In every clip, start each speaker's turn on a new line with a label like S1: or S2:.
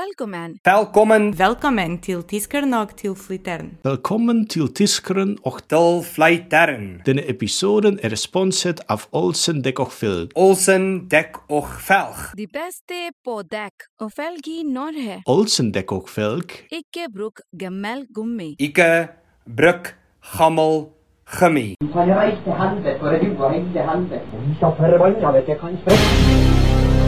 S1: Velkommen.
S2: Velkommen
S3: Velkommen til Tiskernok til Flittern.
S4: Velkommen til Tiskeren och
S2: til Flytern.
S4: denna episoden är sponset av Olsen Däck och Filk.
S2: Olsen dek och velg.
S1: De beste på dekk og felg i Norge.
S4: Olsen Däck och Filk
S1: Ikke bruk gammel gummi.
S2: Ike, bruk, gammel, gummi.
S5: Han reiste helvete, og det var hele helvete. Vi skal forbanna dere, kanskje.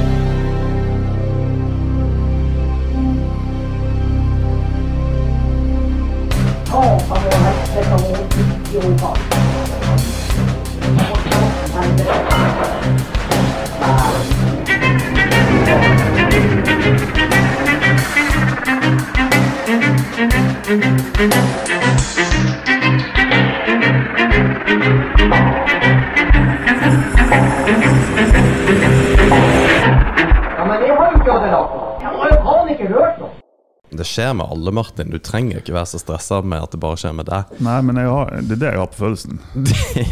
S5: Ja, men jeg har jo ikke hatt det noe. Jeg har jo faen ikke hørt noe.
S6: Det skjer med alle, Martin. Du trenger ikke være så stressa med at det bare skjer med deg.
S7: Nei, men jeg har, det er det jeg har på følelsen.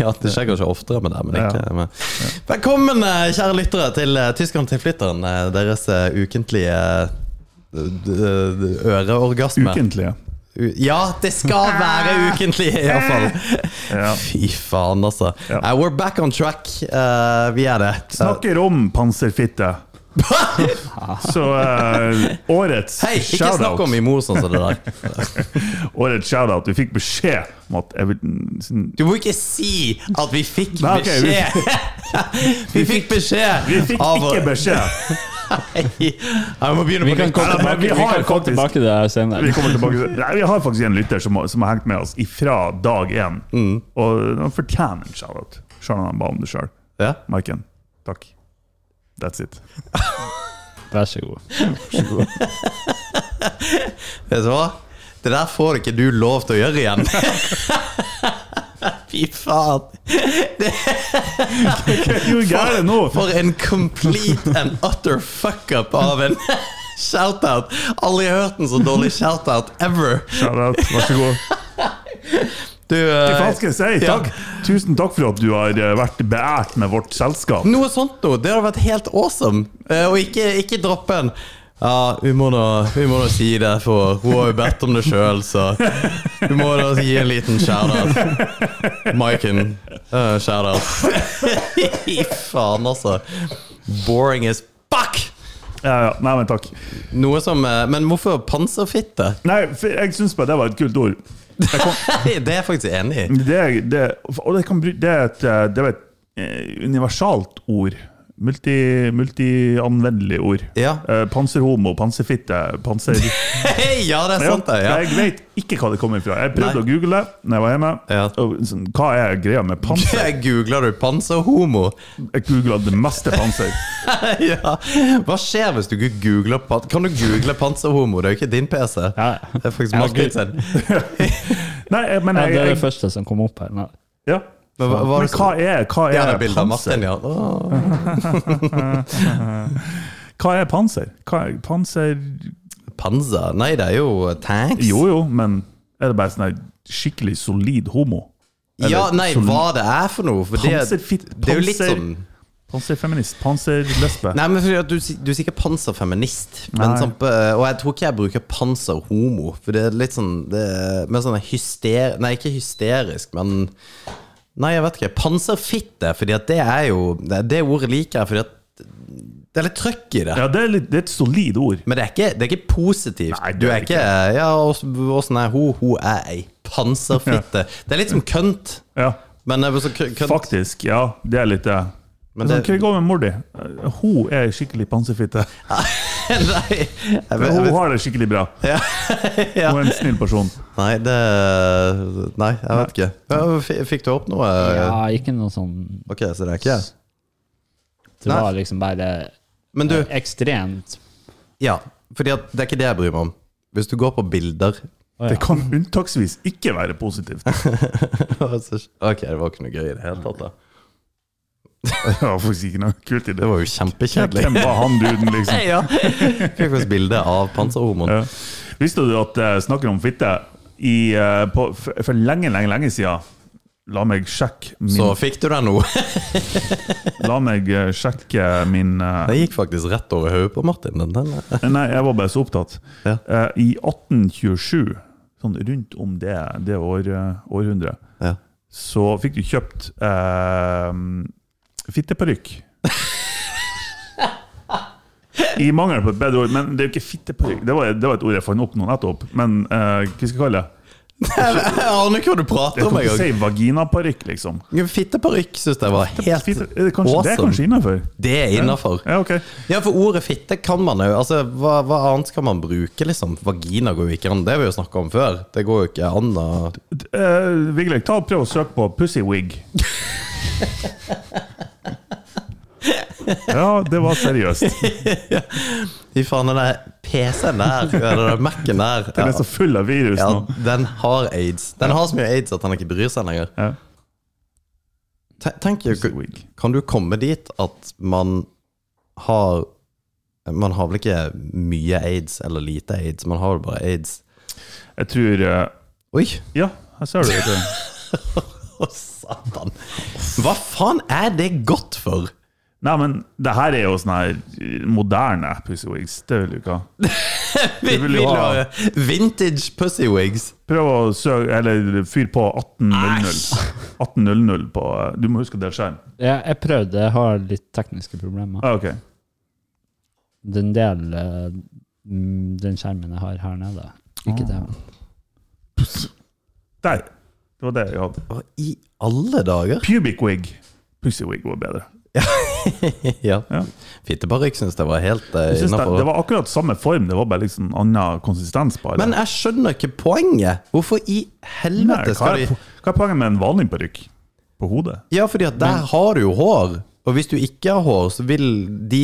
S6: ja, det skjer kanskje oftere med deg, men ikke
S7: Ja.
S6: med Velkommen, eh, kjære lyttere, til eh, Tyskeren til flytteren. eh, Deres eh, ukentlige eh, d- d- øreorgasme.
S7: Ukentlige.
S6: U- Ja, det skal være ukentlig, iallfall.
S7: Ja.
S6: Fy faen, altså.
S7: Ja.
S6: Eh, we're back on track. Eh, vi er det.
S7: Snakker om panserfitte. Så eh, årets
S6: Hei, ikke snakk om min
S7: shoutout
S6: mor sånn som det der.
S7: Årets shoutout. Vi fikk beskjed om at jeg vil,
S6: Du må ikke si at vi fikk
S7: Nei, ok, vi-
S6: beskjed! vi fikk beskjed!
S7: Vi fikk
S6: av-
S7: ikke beskjed!
S6: Nei, jeg må begynne
S8: Vi
S6: på
S8: kan
S6: nytt.
S8: komme
S7: Ja, men
S8: tilbake,
S7: vi
S8: vi
S7: har
S8: kan komme
S7: faktisk-
S8: tilbake til det
S7: Vi,
S8: senere.
S7: kommer tilbake til- Nei, vi har faktisk en lytter som, har- som har hengt med oss ifra dag én.
S6: Mm.
S7: Og han fortjener en shoutout, selv om han ba om det sjøl.
S6: Ja.
S7: Maiken, takk. That's it.
S8: Vær så god.
S6: Vet du hva? Det der får ikke du lov til å gjøre igjen. Fy faen.
S7: Hva gjorde gærent nå?
S6: For en complete and utter fuck-up av en shout-out. Aldri hørt en så dårlig shout-out ever.
S7: Shoutout, vær så god.
S6: Du, eh,
S7: Hva skal jeg si?
S6: ja.
S7: Takk. Tusen takk for at du har eh, vært beært med vårt selskap.
S6: Noe sånt noe. Det hadde vært helt awesome. Eh, og ikke, ikke droppe en Ja, vi må, nå, vi må nå si det, for hun har jo bedt om det sjøl, så vi må da gi en liten shout-out. Maiken, uh, shout-out. Fy faen, altså. Boring as fuck!
S7: Ja, ja. Nei, men takk.
S6: Noe som eh, Men hvorfor panserfitte?
S7: Nei, for jeg syns bare det var et kult ord. Jeg kom,
S6: Det er jeg faktisk enig i.
S7: det, er- det, og det, kan, bry- det er et, eh, det er et eh, universalt ord. Multi, multianvendelig ord.
S6: Ja.
S7: Eh, panserhomo, panserfitte, panser...
S6: Hei, ja, det er sant, det. Ja.
S7: Jeg vet ikke hva det kommer fra. Jeg prøvde
S6: Nei.
S7: å google det når jeg var hjemme.
S6: Ja.
S7: Og, sånn, hva er greia med panser?
S6: Googler du 'panserhomo'?
S7: Jeg googla det meste panser.
S6: ja. Hva skjer hvis du ikke googler pan Kan du google panserhomo? Det er jo ikke din PC.
S8: Ja.
S6: Det er faktisk
S8: Ja,
S6: Martin
S8: gud.
S6: sin.
S7: Nei, jeg- men
S8: Ja,
S7: jeg,
S8: det er det
S7: jeg,
S8: første som kom opp her. Nei.
S7: ja.
S6: Men hva, hva er
S7: Men
S6: det som
S7: hva er, hva
S6: Ja, det
S7: er
S6: er bildet av Martin,
S7: panser?
S6: ja. Åh.
S7: Hva er panser? Hva er panser?
S6: Panser? Nei, det er jo tanks.
S7: Jo jo, men er det bare sånn her skikkelig solid homo? Eller
S6: ja, nei,
S7: sol-
S6: hva det er for noe. For det,
S7: Panserfitt,
S6: det er jo litt
S7: panser-
S6: sånn
S7: Panserfeminist? Panserlesbe?
S6: Nei, men fordi at du, si- du er sikkert panserfeminist, men
S7: Nei.
S6: sånn, på- og jeg tror ikke jeg bruker panserhomo. For det er litt sånn det er Mer sånn hyster... Nei, ikke hysterisk, men Nei, jeg vet ikke. Panserfitte, fordi at det er jo Det, det ordet liker jeg, fordi at det er litt trøkk i det.
S7: Ja, det er, litt, det er et solid ord.
S6: Men det er ikke, det er ikke positivt.
S7: Nei, det
S6: du
S7: er
S6: er
S7: det
S6: ikke, eh, Ja, åssen er hun? Hun er ei panserfitte. Det er litt som kønt.
S7: Ja,
S6: Men det er så kø- kønt.
S7: faktisk. Sånn Ja, det er litt det.
S6: Men
S7: Men det,
S6: det-
S7: hva går med mor di? Eh, Hun er skikkelig panserfitte.
S6: Nei, jeg, vet- jeg,
S7: Hun
S6: vet-
S7: har det skikkelig bra.
S6: ja.
S7: Hun er en snill person.
S6: Nei, det Nei, jeg vet ikke. Ja, f- Fikk du opp noe?
S8: Ja, ikke noe sånn
S6: Ok, så det er ikke
S8: Det
S6: Nei.
S8: var liksom bare
S6: Men du,
S8: ekstremt.
S6: ja. Fordi at det er ikke det jeg bryr meg om. Hvis du går på bilder
S7: Det kan unntaksvis ikke være positivt.
S6: så- Ok, det var ikke noe gøy i det hele tatt. da.
S7: Det var faktisk ikke noe kult i
S6: Det
S7: det.
S6: var jo kjempekjedelig.
S7: Hvem var han duden, liksom?
S6: Ja. Fikk faktisk bilde av panserhormon.
S7: Ja. Visste du at eh, snakker om fitte i, eh, på, for, for lenge, lenge, lenge siden La meg sjekke min,
S6: Så fikk du den nå.
S7: la meg eh, sjekke min eh,
S6: Den gikk faktisk rett over hodet på Martin. Den, den.
S7: Nei, jeg var bare så opptatt.
S6: Ja.
S7: Eh, I 1827, sånn rundt om det, det år, eh, århundret,
S6: Ja.
S7: så fikk du kjøpt eh, fitteparykk. I mangel på et bedre ord. Men det er jo ikke fitteparykk. Det var, det var et ord jeg fant opp nå nettopp. Men eh, hva skal jeg kalle det?
S6: Jeg aner ikke hva du prater
S7: Jeg
S6: om
S7: kan ikke
S6: engang.
S7: si vaginaparykk, liksom.
S6: Fitteparykk syns jeg var helt
S7: Fitte, er det, kanskje, det er
S6: awesome.
S7: kanskje innafor?
S6: Det er innafor.
S7: Ja, ok.
S6: Ja, for ordet fitte kan man jo Altså, hva, hva annet skal man bruke, liksom? Vagina går jo ikke an. Det har vi jo snakka om før. Det går jo ikke an å
S7: Eh, Vigleg, ta og prøv å søke på pussywig. ja, det var seriøst.
S6: Fy faen, den der PC-en der, eller den Mac-en der
S7: Den er så full av virus
S6: ja,
S7: nå.
S6: Den har aids. Den har så mye aids at han ikke bryr seg lenger.
S7: Ja.
S6: Te- Tenk jo
S7: Pussywig.
S6: Kan du komme dit at man har Man har vel ikke mye aids eller lite aids, man har vel bare aids.
S7: Jeg tror eh,
S6: Oi,
S7: Ja, her ser du det.
S6: å satan! Hva faen er det godt for?
S7: Nei, men det her er jo sånn her moderne pussywigs. Det vil du ikke ha.
S6: Vi
S7: vil jo ha-
S6: vintage pussywigs.
S7: Prøv å søke Eller fyr på 1800. 1800 på eh, Du må huske å dele skjerm.
S8: Jeg, jeg prøvde, jeg har litt tekniske problemer.
S7: Ah, ok.
S8: Den del eh, mm, Den skjermen jeg har her nede.
S6: Ah.
S8: Ikke det.
S7: Der. Det var det jeg hadde.
S6: Hva i alle dager?
S7: Pubic wig. Pussywig var bedre.
S6: ja.
S7: Ja.
S6: Fitteparykk syns jeg var helt uh,
S7: Jeg synes det, det
S6: innafor.
S7: var akkurat samme form, det var bare liksom annen konsistens. på det.
S6: Men jeg skjønner ikke poenget! Hvorfor i
S7: Nei,
S6: helvete
S7: hva,
S6: skal
S7: er,
S6: de
S7: po- hva er poenget med en vanlig parykk? På hodet?
S6: Ja, fordi at der har du jo hår. Og hvis du ikke har hår, så vil de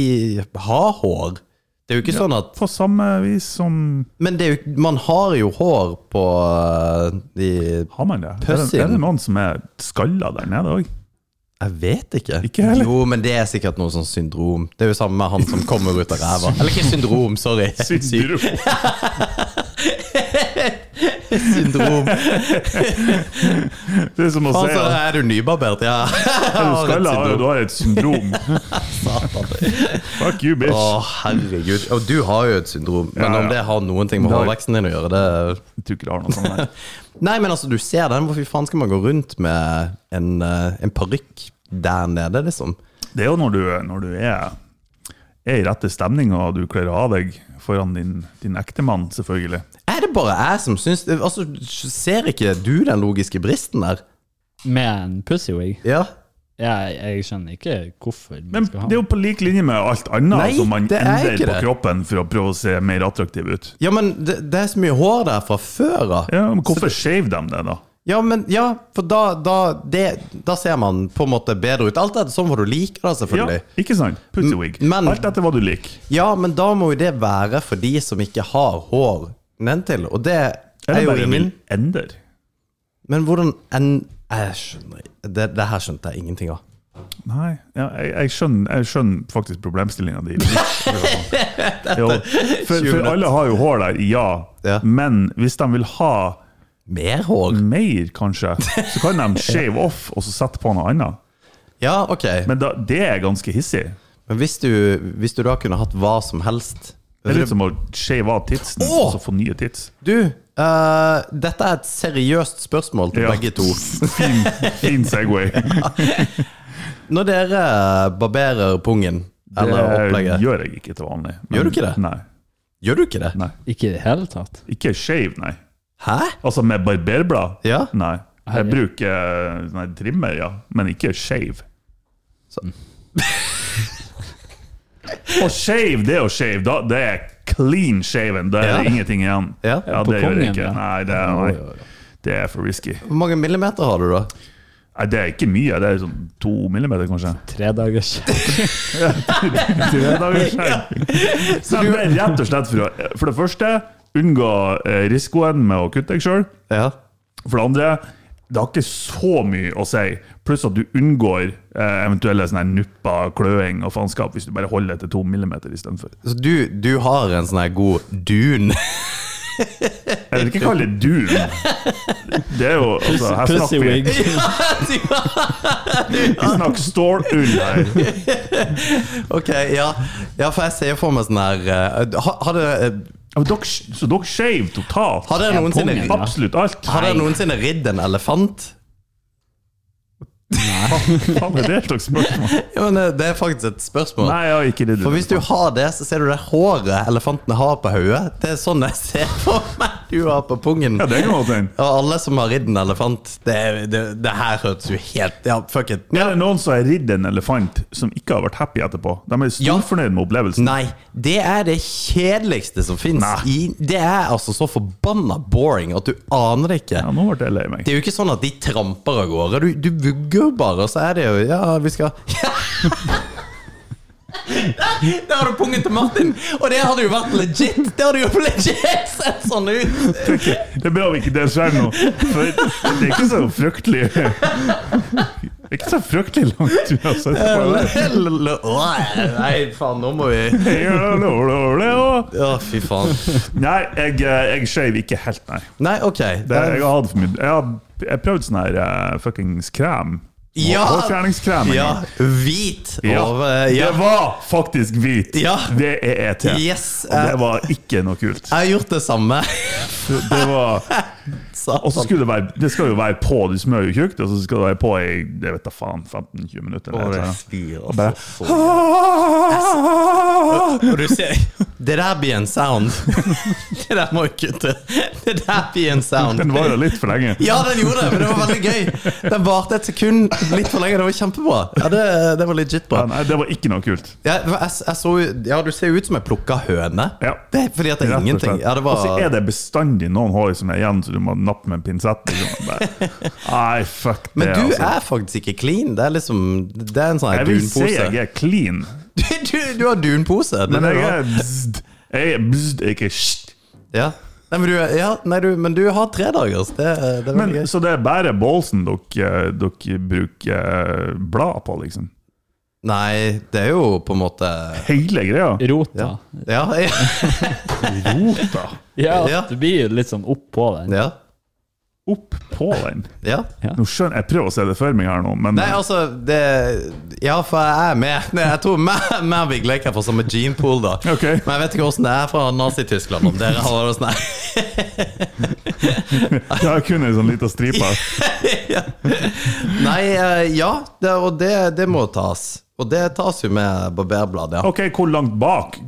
S6: ha hår. Det er jo ikke sånn at
S7: På samme vis som
S6: Men det er jo, man har jo hår på øh, de
S7: Har man det? Er det,
S6: Pussyen.
S7: er det noen som er skalla der nede òg?
S6: Jeg vet ikke.
S7: Ikke heller.
S6: Jo, men det er sikkert noe sånn syndrom. Det er jo samme med han som kommer ut av ræva. Eller ikke syndrom, sorry. Sy- syndrom.
S7: Det er som å
S6: Han
S7: si
S6: sa
S7: at
S6: er du nybarbert? Ja.
S7: er du
S6: Har et
S7: skalla, har du-
S6: syndrom.
S7: du har et syndrom. Fuck you, bitch.
S6: Å, herregud. Og du har jo et syndrom, men
S7: Ja, ja.
S6: om det har noen ting med
S7: Det har-
S6: hårveksten din å gjøre, det
S7: Jeg tror ikke det har noe sånt der.
S6: Nei, men altså, du ser den. Hvorfor faen skal man gå rundt med en, eh, en parykk der nede, liksom?
S7: Det er jo når du, når du er, er i rette stemning, og du kler av deg foran din, din ektemann, selvfølgelig.
S6: Er det bare jeg som syns Altså, ser ikke du den logiske bristen der?
S8: Med en pussywig.
S6: Ja.
S8: Jeg, jeg skjønner ikke hvorfor man
S7: Men
S8: skal
S7: det
S8: ha
S7: er jo på lik linje med alt annet
S6: Nei,
S7: som man
S6: det er
S7: endrer
S6: ikke
S7: på
S6: det.
S7: kroppen for å prøve å se mer attraktiv ut.
S6: Ja, men det, det er så mye hår der fra før av.
S7: Ja, men Hvorfor shave dem det, da?
S6: Ja, men ja, for da, da, det, da ser man på en måte bedre ut. Alt etter sånn hva du liker, da,
S7: Ja,
S6: selvfølgelig.
S7: ikke sant? Pussywig.
S6: M- men-
S7: Alt etter hva du liker.
S6: Ja. men da må jo det være for de som ikke har hår nedentil, og det er
S7: Eller
S6: jo
S7: bare
S6: ingen
S7: vil endre.
S6: Men hvordan en Jeg skjønner ikke det, det her skjønte jeg ingenting av.
S7: Nei, ja, jeg, jeg, skjønner, jeg skjønner faktisk problemstillinga di. Jo, for, for alle har jo hår der, ja.
S6: Ja.
S7: Men hvis de vil ha
S6: Mer hår?
S7: mer, kanskje, så kan de shave off og så sette på noe annet.
S6: Ja, ok. Men,
S7: Men da, det er ganske hissig.
S6: hvis, du, hvis du da kunne hatt hva som helst
S7: Det er litt som å shave av titsen
S6: Åh!
S7: og så få nye tits.
S6: Du, eh, dette er et seriøst spørsmål til
S7: Ja.
S6: begge to.
S7: Fin, fin Segway.
S6: Når dere barberer pungen, eller
S7: Det
S6: opplegget, gjør,
S7: gjør jeg ikke til vanlig. Men-
S6: Gjør du ikke det?
S7: Nei.
S6: du ikke det?
S7: nei.
S8: Ikke i det hele tatt.
S7: Ikke shave, nei.
S6: Hæ?
S7: Altså med barberblad?
S6: Ja.
S7: Nei. Jeg
S8: Herre.
S7: bruker nei, trimmer, ja, men ikke shave.
S6: Sånn.
S7: Å shave, det å shave, da, det er clean shaven. Da er det
S6: Ja.
S7: ingenting igjen.
S6: Ja,
S8: på
S7: det gjør jeg
S8: kongen,
S7: ikke.
S8: ja.
S7: Nei, det er, nei, det er for risky.
S6: Hvor mange millimeter har du, da?
S7: Nei, det er ikke mye. Det er sånn to millimeter, kanskje.
S8: Tre dagers
S7: Tre dager skjegg. Så det er rett og slett for å For det første, unngå eh, risikoen med å kutte deg sjøl.
S6: Ja.
S7: For det andre, det har ikke så mye å si. Pluss at du unngår eh, eventuelle sånne her nupper, kløing og faenskap hvis du bare holder etter to millimeter istedenfor.
S6: Så du, du har en sånn her god dun?
S7: Jeg vil ikke kalle det doom. Det er jo altså, Her snakker vi
S8: Pussywig.
S7: Vi snakker stålull her.
S6: Ok, ja. ja, for jeg ser for meg sånn her eh, ha- Har dere eh,
S7: Ja, men dere- Så dere shave totalt?
S6: har dere noensinne,
S8: kongen, ja.
S7: Absolutt alt?
S6: har dere noensinne ridd en elefant?
S7: Faen, er det et slags spørsmål?
S6: Ja, men eh, Det er faktisk et spørsmål.
S7: Nei, jeg har ikke det.
S6: For hvis du har det, så ser du det håret elefantene har på hodet. Det er sånn jeg ser for meg du har på pungen.
S7: Ja, det kan godt hende.
S6: Og alle som har ridd en elefant Det, det, det her hørtes jo helt Ja, fuck it.
S7: Er det noen som har ridd en elefant som ikke har vært happy etterpå? De er
S6: Ja.
S7: storfornøyd med opplevelsen.
S6: Nei, det er det kjedeligste som fins.
S7: Nei.
S6: Det er altså så forbanna boring at du aner det ikke.
S7: Ja, nå ble jeg lei meg.
S6: Det er jo ikke sånn at de tramper av gårde. Du, du vugger jo bare, og så er det jo Ja, vi skal Der har du pungen til Martin! Og det hadde jo vært legit! Det hadde jo legit sett sånn ut!
S7: Det er bra vi ikke det skjer nå, for det er ikke så fryktelig Det er ikke så fryktelig langt unna. så jeg
S6: L-
S7: tror jeg-
S6: l- l- Nei, faen, nå må vi Ja, fy faen.
S7: Nei, jeg, eh, jeg skeiv ikke helt, nei.
S6: Nei, OK.
S7: Det, jeg har hatt for mye Jeg har jeg prøvde sånn her eh, fuckings krem.
S6: Ja.
S7: Hårfjerningskrem. en
S6: Ja,
S7: gang.
S6: hvit
S7: Ja.
S6: over ja.
S7: Det var faktisk hvit.
S6: Ja.
S7: Det er ET.
S6: Yes,
S7: Og det
S6: eh.
S7: var ikke noe kult.
S6: Jeg har gjort det samme.
S7: Det var Og så
S6: Satan.
S7: skulle det være Det skal jo være på, du smører jo tjukt, og så skal det være på i jeg vet da faen 15-20 minutter.
S6: Å,
S7: Eller,
S6: det
S7: noe sånt.
S6: spyr,
S7: Og bare-
S6: altså. Så Og du ser, det der blir en sound. Det der må jeg kutte. Det der blir en sound.
S7: Den varer litt for lenge.
S6: Ja, den gjorde det, men det var veldig gøy. Den varte et sekund litt for lenge. Det var kjempebra. Ja, det, det var legit bra.
S7: Ja, Nei, det var ikke noe kult.
S6: Ja, jeg, jeg så, ja, du ser ut som jeg plukka høne.
S7: Ja.
S6: Det er fordi at det
S7: Rett
S6: er
S7: og
S6: ingenting.
S7: slett.
S6: Ja, det
S7: Og så er
S6: var,
S7: det bestandig noen hår som er igjen, så du må nappe med en pinsett. Liksom. Bare, Nei, fuck det.
S6: men du
S7: altså.
S6: er faktisk ikke clean. Det er liksom Det er en sånn her
S7: Jeg vil si
S6: dunpose.
S7: jeg er clean,
S6: Du, du, du har dunpose. Det er
S7: men
S6: det du
S7: jeg
S6: har.
S7: er bzd. Jeg er bzd, ikke sht.
S6: Ja. Nei, men du, er- ja, nei, du, men du har tredagers. Det, er- det er
S7: Men,
S6: veldig gøy.
S7: så det er bare bålsen dere, eh, dere bruker eh, blad på, liksom?
S6: Nei, det er jo på en måte
S7: Hele greia?
S8: Rota.
S6: Ja. ja.
S7: Rota
S8: Ja,
S6: Ja.
S8: du blir litt sånn oppå den.
S6: ja.
S7: opp på den?
S6: Ja.
S7: Nå skjønner Jeg prøver å se det for meg her nå, men eh,
S6: Nei, altså det, Ja, for jeg er med. Nei, jeg tror mer, mer Big Lake er fra samme genepool, da.
S7: Ok.
S6: Men jeg vet ikke hvordan det er fra Nazi-Tyskland. Om dere har det sånn her. altså-
S7: jeg har kun en sånn liten stripe. her.
S6: Nei, eh, ja. Det, og det, det må tas. Og det tas jo med barberblad, ja.
S7: Ok, Hvor langt bak?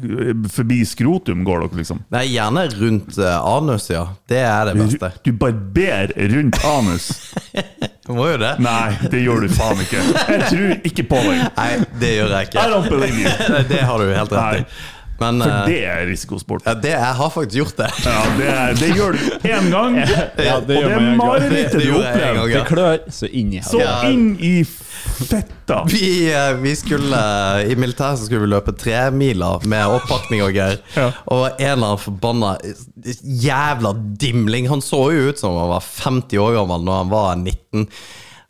S7: Forbi skrotum går dere, liksom?
S6: Nei, gjerne rundt eh, anus, ja. Det er det beste.
S7: Du barberer rundt anus?
S6: Du må jo det.
S7: Nei, det gjør du faen ikke. Jeg tror ikke på den.
S6: Nei, det gjør jeg
S7: I
S6: ikke.
S7: don't believe you.
S6: Nei, Det har du helt rett i.
S7: Nei.
S6: Men
S7: For
S6: eh,
S7: det er risikosport.
S6: ja, det, jeg har faktisk gjort det.
S7: Ja, det, er, det gjør du én gang,
S8: Ja, det
S7: og det
S8: gjør man en gang.
S7: marerittet
S6: Det- det
S7: du
S6: gjorde jeg en gang,
S7: opplever.
S6: ja.
S8: Det klør så inn i
S7: Så
S8: helvete.
S6: Ja.
S7: inn i fetta!
S6: Vi, eh, vi skulle I militæret så skulle vi løpe tre miler med oppakning og greier.
S7: Ja.
S6: Og en eller annen forbanna jævla dimling Han så jo ut som han var 50 år gammel når han var 19.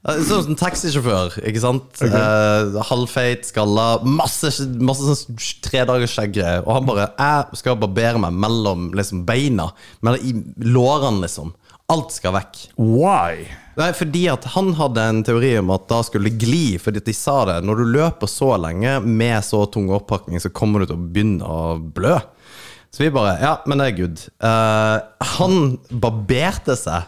S6: Eh, Sånn som taxisjåfør, ikke sant? Eh, halvfeit, skalla, masse, masse sånn sk- tredagers skjegggreier. Og han bare 'Jeg skal barbere meg mellom liksom, beina. Mellom i lårene, liksom. Alt skal vekk'.
S7: Why?
S6: Nei, fordi at han hadde en teori om at da skulle det gli, fordi at de sa det. Når du løper så lenge med så tung oppakning, så kommer du til å begynne å blø. Så vi bare Ja, men det er good. Eh, han barberte seg,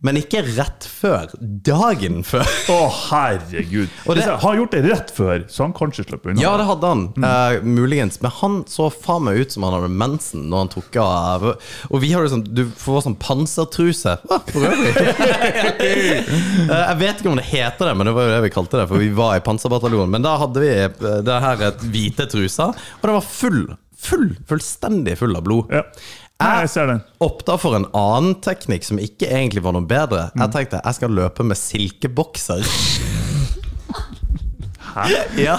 S6: men ikke rett før. Dagen før.
S7: Å, herregud.
S6: Og det-
S7: Hvis jeg har gjort det rett før, så han kanskje slipper unna.
S6: Ja, det hadde han, eh, muligens. Men han så faen meg ut som han hadde mensen når han tok av Og vi har jo sånn Du får sånn pansertruse. Ah, for øvrig. Eh, jeg vet ikke om det heter det, men det var jo det vi kalte det, for vi var i panserbataljonen. Men da hadde vi eh, det her eh, hvite trusa, og det var full, full, fullstendig full av blod.
S7: Ja. Nei, jeg ser den.
S6: Oppda for en annen teknikk som ikke egentlig var noe bedre. Jeg tenkte jeg skal løpe med silkebokser. Hæ? Ja.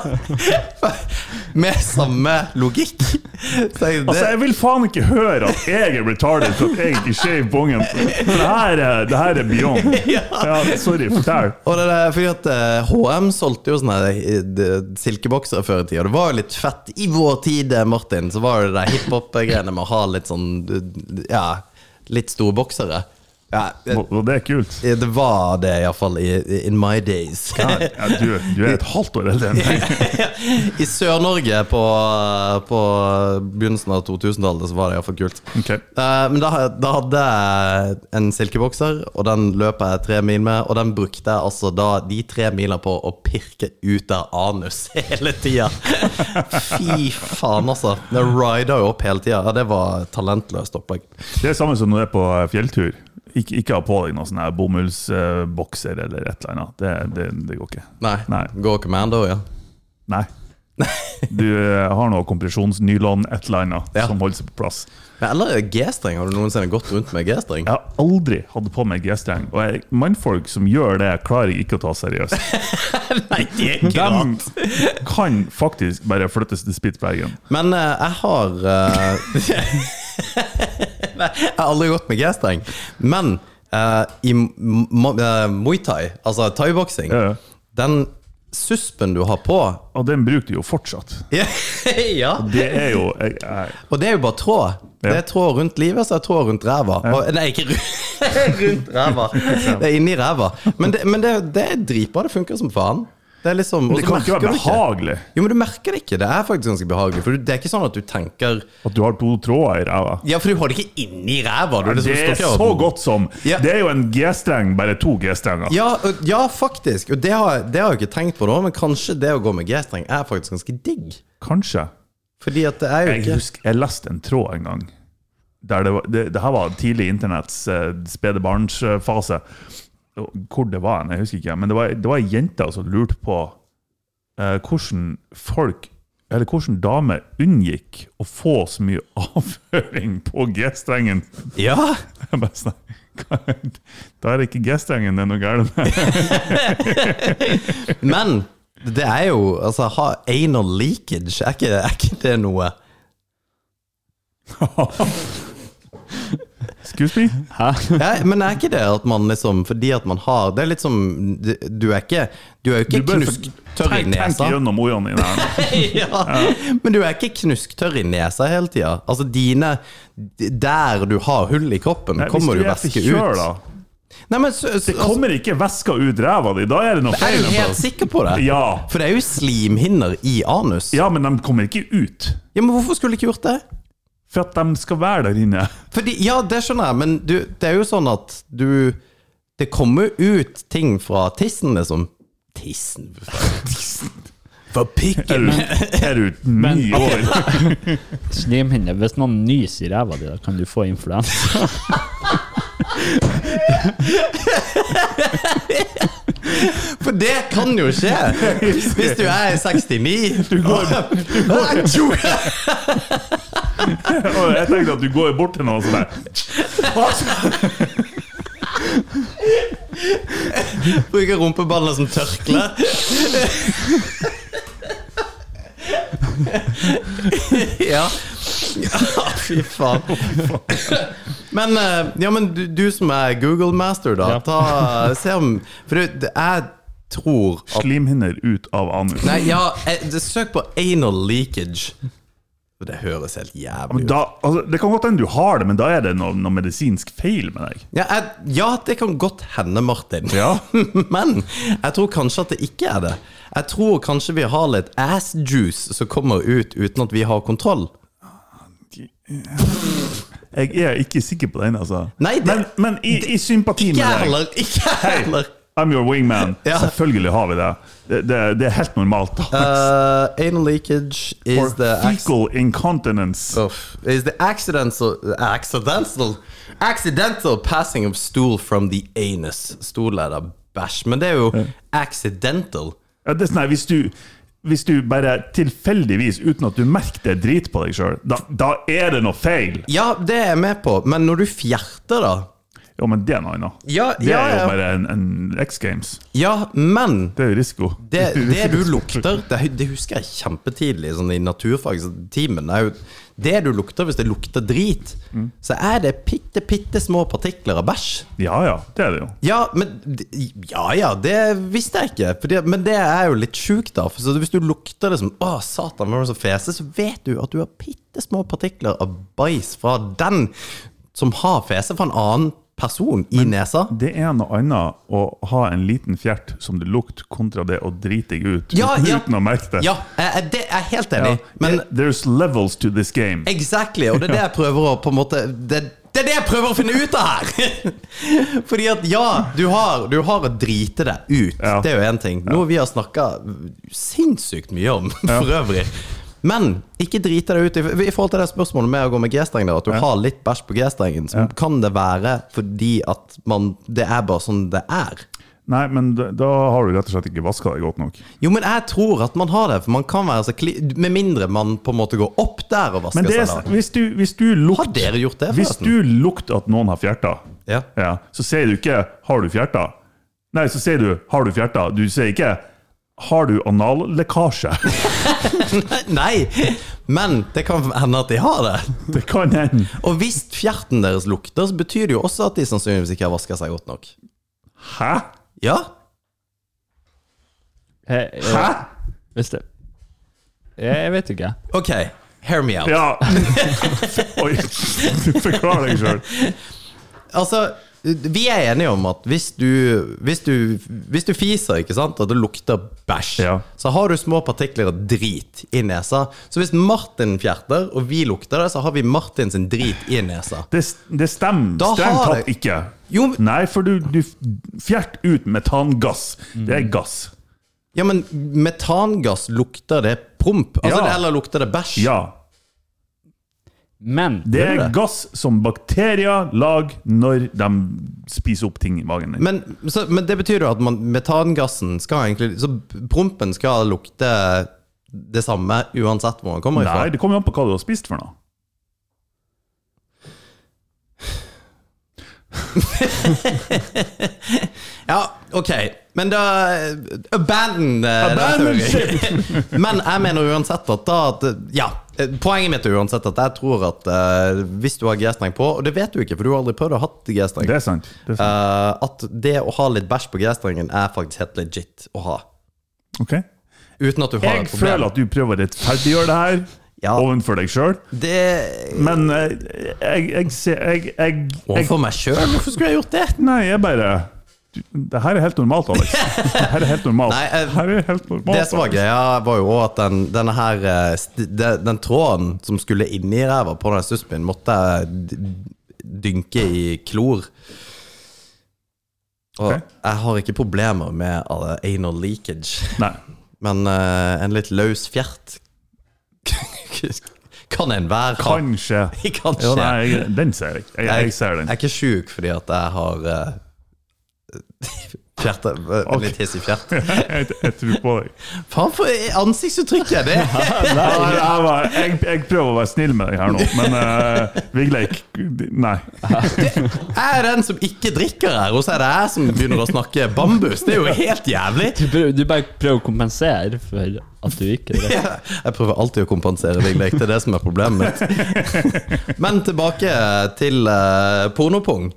S6: Med samme logikk. Så jeg,
S7: Altså,
S6: det,
S7: Jeg vil faen ikke høre at jeg er retarded for at jeg ikke skjev bongen. For det her er, det her er beyond. Ja, sorry, fortell.
S6: og det der, fordi at eh, HM solgte jo sånne eh, de- silkeboksere før i tida. Det var jo litt fett i vår tid, eh, Martin. Så var det de hiphop-greiene med å ha litt sånn eh, Ja. litt storboksere. Ja, det,
S7: Og og det er kult.
S6: det var det iallfall in my days.
S7: Ja, du, du er et halvt år eldre enn meg.
S6: I Sør-Norge på, på begynnelsen av 2000-tallet så var det iallfall kult.
S7: Ok.
S6: Eh, men da, da hadde jeg en silkebokser, og den løp jeg tre mil med. Og den brukte jeg altså da de tre mila på å pirke ut av anus hele tida. Fy faen, altså. Det rida jo opp hele tida. Ja, det var talentløst opplegg.
S7: Det er samme som når du er på eh, fjelltur. Ikke, ikke ha på deg noen sånne her bomullsbokser eller et eller annet. Det, det, det går ikke.
S6: Nei.
S7: Nei.
S6: Går commando, ja.
S7: Nei. Du eh, har noe kompresjonsnylon, et eller annet,
S6: Ja.
S7: som holder seg på plass.
S6: Men eller G-streng. Har du noensinne gått rundt med G-streng?
S7: Jeg har aldri hatt på meg G-streng, og jeg, mannfolk som gjør det, klarer jeg ikke å ta seriøst.
S6: Nei, det er ikke rart.
S7: De kan faktisk bare flyttes til Spitsbergen.
S6: Men eh, jeg har eh, Nei, Jeg har aldri gått med G-streng. Men eh, i m- mo- eh, muay thai, altså thaiboksing,
S7: Ja, ja.
S6: den suspen du har på
S7: Og den bruker du jo fortsatt.
S6: ja.
S7: Det er jo eh, jeg, jeg,
S6: Og det er jo bare tråd. Det er tråd rundt livet, så er det tråd rundt ræva. Og, nei, ikke ru- rundt ræva. Det er inni ræva. Men det, men det, det er dritbra. Det funker som faen. Det, er liksom, og
S7: Det
S6: så
S7: kan ikke
S6: merker
S7: være
S6: du
S7: behagelig
S6: Jo, men du merker det ikke. Det er faktisk ganske behagelig. For det er ikke sånn at du tenker
S7: at du har to tråder i ræva.
S6: Ja, for du har det ikke inni ræva. Du,
S7: Det
S6: liksom
S7: er
S6: står ikke og-
S7: så godt som
S6: Ja.
S7: Det er jo en G-streng, bare to G-strenger.
S6: Ja, ø- ja, faktisk. Og det har, det har jeg ikke tenkt på nå, men kanskje det å gå med G-streng er faktisk ganske digg.
S7: Kanskje.
S6: Fordi at det er jo
S7: Jeg
S6: ikke
S7: husker jeg leste en tråd en gang. Der det, var, det, det her var tidlig internetts eh, spede barns-fase. Hvor det var hen, jeg husker ikke. Men det var, det var ei jente som lurte på eh, hvordan folk eller hvordan damer unngikk å få så mye avføring på G-strengen.
S6: Ja!
S7: Jeg bare sånn, "Hva- Da er det ikke G-strengen det er noe galt med.
S6: Men det er jo Altså, ha anal leakage. Er ikke, er ikke det noe?
S7: Excuse me?
S6: Ja, men er ikke det at man liksom Fordi at man har Det er litt som Du er ikke Du er jo ikke
S7: Du bør-
S6: knusktørr i
S7: Tenk tenk
S6: nesa.
S7: gjennom ordene dine. her nå.
S6: ja. Men du er ikke knusktørr i nesa hele tida. Altså, dine Der du har hull i kroppen,
S7: Nei,
S6: kommer
S7: hvis
S6: jo
S7: du er
S6: væske
S7: forkjøla,
S6: ut. Nei, men så, så,
S7: Det kommer ikke væska ut ræva di, da er det noe
S6: altså, er
S7: feil.
S6: du helt sikker på det?
S7: Ja.
S6: For det er jo slimhinner i anus.
S7: ja, men de kommer ikke ut.
S6: Ja, Men hvorfor skulle du ikke gjort det?
S7: For at de skal være der inne.
S6: Fordi, ja, det skjønner jeg, men du, det er jo sånn at du Det kommer ut ting fra tissen, liksom. Tissen For
S7: Er
S6: pikken!
S7: du, er du
S8: Men-
S7: ni år?
S8: Slimhinne. Hvis noen nyser i ræva di, da kan du få influensa.
S6: For det kan jo skje! Hvis du er 69 Du går,
S7: Og jeg tenkte at du går bort til noen og sånn der.
S6: Bruker rumpeballene som tørkle. ja. ja. Fy faen. Men, eh, ja, men du, du som er Google master, da.
S8: Ja.
S6: Ta, se om For det, det, jeg tror at
S7: Slimhinner ut av anus.
S6: Nei, ja, eh, det- søk på anal leakage. Det høres helt jævlig
S7: Men
S6: ut.
S7: da, altså, det kan godt hende du har det, men da er det noe, noe medisinsk feil med deg.
S6: Ja, jeg, ja, det kan godt hende, Martin. Men jeg tror kanskje at det ikke er det. Jeg tror kanskje vi har litt ass juice som kommer ut uten at vi har kontroll.
S7: Jeg er ikke sikker på den, altså.
S6: Nei, det-
S7: men, men i, i sympati med
S6: Ikke jeg
S7: deg
S6: heller! Ikke jeg
S7: Hei,
S6: heller!
S7: I'm your wingman.
S6: Ja.
S7: Selvfølgelig har vi det. Det, det. det er helt normalt.
S6: Uh, anal leakage
S7: For
S6: is the ac-
S7: fecal incontinence.
S6: Uff. Is the accidental Accidental Accidental passing of stool from the anus. Stol er da bæsj, men det er jo accidental.
S7: Ja, det er sånn her, hvis, du, hvis du bare tilfeldigvis, uten at du merker det, driter på deg sjøl, da, da er det noe feil!
S6: Ja, det er jeg med på, men når du fjerter, da
S7: Jo, men det er noe annet.
S6: Ja,
S7: det
S6: ja,
S7: er jo
S6: ja.
S7: bare en, en X Games.
S6: Ja, men
S7: Det er jo risiko.
S6: det, det du lukter, det, det husker jeg kjempetidlig sånn i naturfagstimen. er jo- Det du lukter, hvis det lukter drit,
S7: Mm.
S6: så er det bitte, bitte små partikler av bæsj.
S7: Ja ja, det er det jo.
S6: Ja, men d- Ja ja, det visste jeg ikke. Fordi, men det er jo litt sjukt, da. For så hvis du lukter det som Å, satan, hvem er det som feser? Så vet du at du har bitte små partikler av bæsj fra den som har fese fra en annen person i nesa.
S7: Det er noe annet å ha en liten fjert som du lukter, kontra det å drite deg ut
S6: Ja, ja.
S7: uten å merke det.
S6: Ja, jeg, jeg- det er jeg helt enig i.
S7: Ja.
S6: Men
S7: There's levels to this game.
S6: Exactly, og det er det jeg prøver å på en måte det, det er det jeg prøver å finne ut av her! Fordi at ja, du har, du har å drite deg ut.
S7: Ja.
S6: Det er jo én ting. Noe vi har snakka sinnssykt mye om for øvrig. Men ikke drite deg ut i, i forhold til det spørsmålet med å gå med G-streng. der, At du har litt bæsj på G-strengen. Så kan det være fordi at man Det er bare sånn det er.
S7: Nei, men da, da har du rett og slett ikke vaska deg godt nok.
S6: Jo, men jeg tror at man har det. For man kan være så kli Med mindre man på en måte går opp der og vasker
S7: Men det er,
S6: seg. da.
S7: hvis du, hvis du lukt,
S6: Har dere gjort det,
S7: Hvis
S6: forresten?
S7: du lukter at noen har fjerta,
S6: Ja.
S7: ja, så sier du ikke 'har du fjerta'? Nei, så sier du 'har du fjerta'? Du sier ikke 'har du anallekkasje'?
S6: Nei, men det kan hende at de har det.
S7: Det kan hende.
S6: Og hvis fjerten deres lukter, så betyr det jo også at de sannsynligvis ikke har vaska seg godt nok.
S7: Hæ?
S6: Ja?
S8: Eh, eh,
S7: Hæ?
S8: Hvis det jeg, jeg vet ikke.
S6: Ok, hear me out.
S7: Ja. Oi, forklar deg sjøl.
S6: Altså, vi er enige om at hvis du, hvis du, hvis du fiser, ikke sant, og det lukter bæsj,
S7: Ja.
S6: så har du små partikler av drit i nesa. Så hvis Martin fjerter, og vi lukter det, så har vi Martin sin drit i nesa.
S7: Det, det stemmer
S6: Da
S7: strengt
S6: har
S7: tatt
S6: jeg-
S7: ikke.
S6: Jo, men-
S7: Nei, for du, du fjert ut metangass. Det er gass.
S6: Ja, men metangass lukter det promp? Altså,
S7: Ja.
S6: Eller lukter det bæsj?
S7: Ja.
S8: Men
S7: Det
S6: Gjør
S7: er
S6: det?
S7: gass som bakterier lager når de spiser opp ting i magen din.
S6: Men, så, men det betyr jo at man, metangassen skal egentlig Så prompen skal lukte det samme uansett hvor den kommer
S7: Nei,
S6: ifra?
S7: det kommer jo an på hva du har spist for noe.
S6: Ja, ok. Men da Abandon eh, den
S7: Abandon
S6: teorien. Men jeg mener uansett at da at, Ja. eh, Poenget mitt er uansett at jeg tror at eh, hvis du har G-streng på Og det vet du ikke, for du har aldri prøvd å ha hatt G-streng.
S7: Det er sant. Det er sant.
S6: eh, at det å ha litt bæsj på G-strengen er faktisk helt legit å ha.
S7: Ok.
S6: Uten at du har
S7: Jeg
S6: et problem.
S7: føler at du prøver å rettferdiggjøre det her
S6: Ja.
S7: overfor deg sjøl,
S6: Det
S7: men eh, jeg, jeg ser jeg, jeg, jeg
S6: Overfor meg sjøl? Hvorfor skulle jeg gjort det?
S7: Nei, jeg bare du, Det her er helt normalt, Alex. Det her er helt normalt.
S6: Nei, eh,
S7: Det her er helt normalt
S6: Det som var
S7: Alex.
S6: greia, var jo også at den, denne her eh, st- de- Den tråden som skulle inn i ræva på den suspen, måtte jeg d- dynke i klor. Og
S7: Ok.
S6: jeg har ikke problemer med eh, anal leakage,
S7: Nei.
S6: men eh, en litt løs fjert kan enhver ha.
S7: Kanskje.
S6: Kan skje.
S7: Jo, nei, jeg, den ser jeg. Jeg, jeg ser
S6: Jeg
S7: den.
S6: er ikke sjuk fordi at jeg har eh, fjerte, eh,
S7: Ok.
S6: litt hissig fjert.
S7: Jeg, jeg tror på deg.
S6: Faen for ansiktsuttrykket! Det
S7: Ja, men jeg, var, jeg, jeg prøver å være snill med deg her nå, men uh, Vigleik Nei.
S6: Jeg er den som ikke drikker her, og så er det jeg som begynner å snakke bambus. Det er jo helt jævlig.
S8: du, prøv, du bare prøver å kompensere for at du ikke er det.
S6: Jeg prøver alltid å kompensere Vigleik, det er det som er problemet mitt. Men tilbake til eh, pornopung.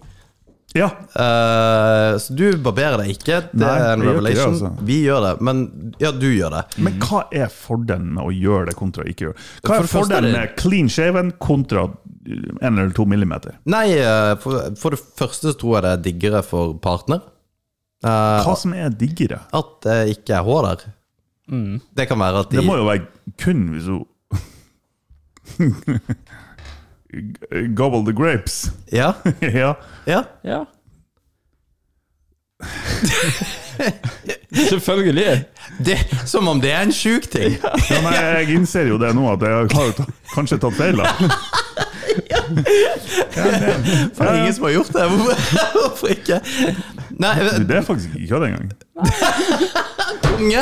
S7: Ja.
S6: Eh, så du barberer deg ikke, det
S7: Nei,
S6: er en
S7: jeg gjør ikke det,
S6: revelation.
S7: altså.
S6: Vi gjør det, men ja, du gjør det.
S7: Men hva er fordelen med å gjøre det kontra ikke gjøre det?
S6: Mhm.
S7: Hva
S6: For
S7: er
S6: det første er
S7: fordelen
S6: det-
S7: med clean shaven kontra eh, en eller to millimeter?
S6: Nei, eh, for, for det første så tror jeg det er diggere for partner. Eh,
S7: Hva som er diggere?
S6: at det ikke er hår der. Det kan være at de
S7: Mm. Det må jo være kun hvis hun Gobble the grapes.
S6: Ja,
S7: ja.
S6: ja.
S8: Ja. Selvfølgelig.
S6: Det, som om det er en sjuk ting.
S7: ja, nei, jeg innser jo det nå, at jeg har jo ta- kanskje tatt feil. da.
S6: For det er ingen som har gjort det. Hvorfor, hvorfor ikke? Nei, eh,
S7: Du, Det er faktisk ikke kødd engang.
S6: unge.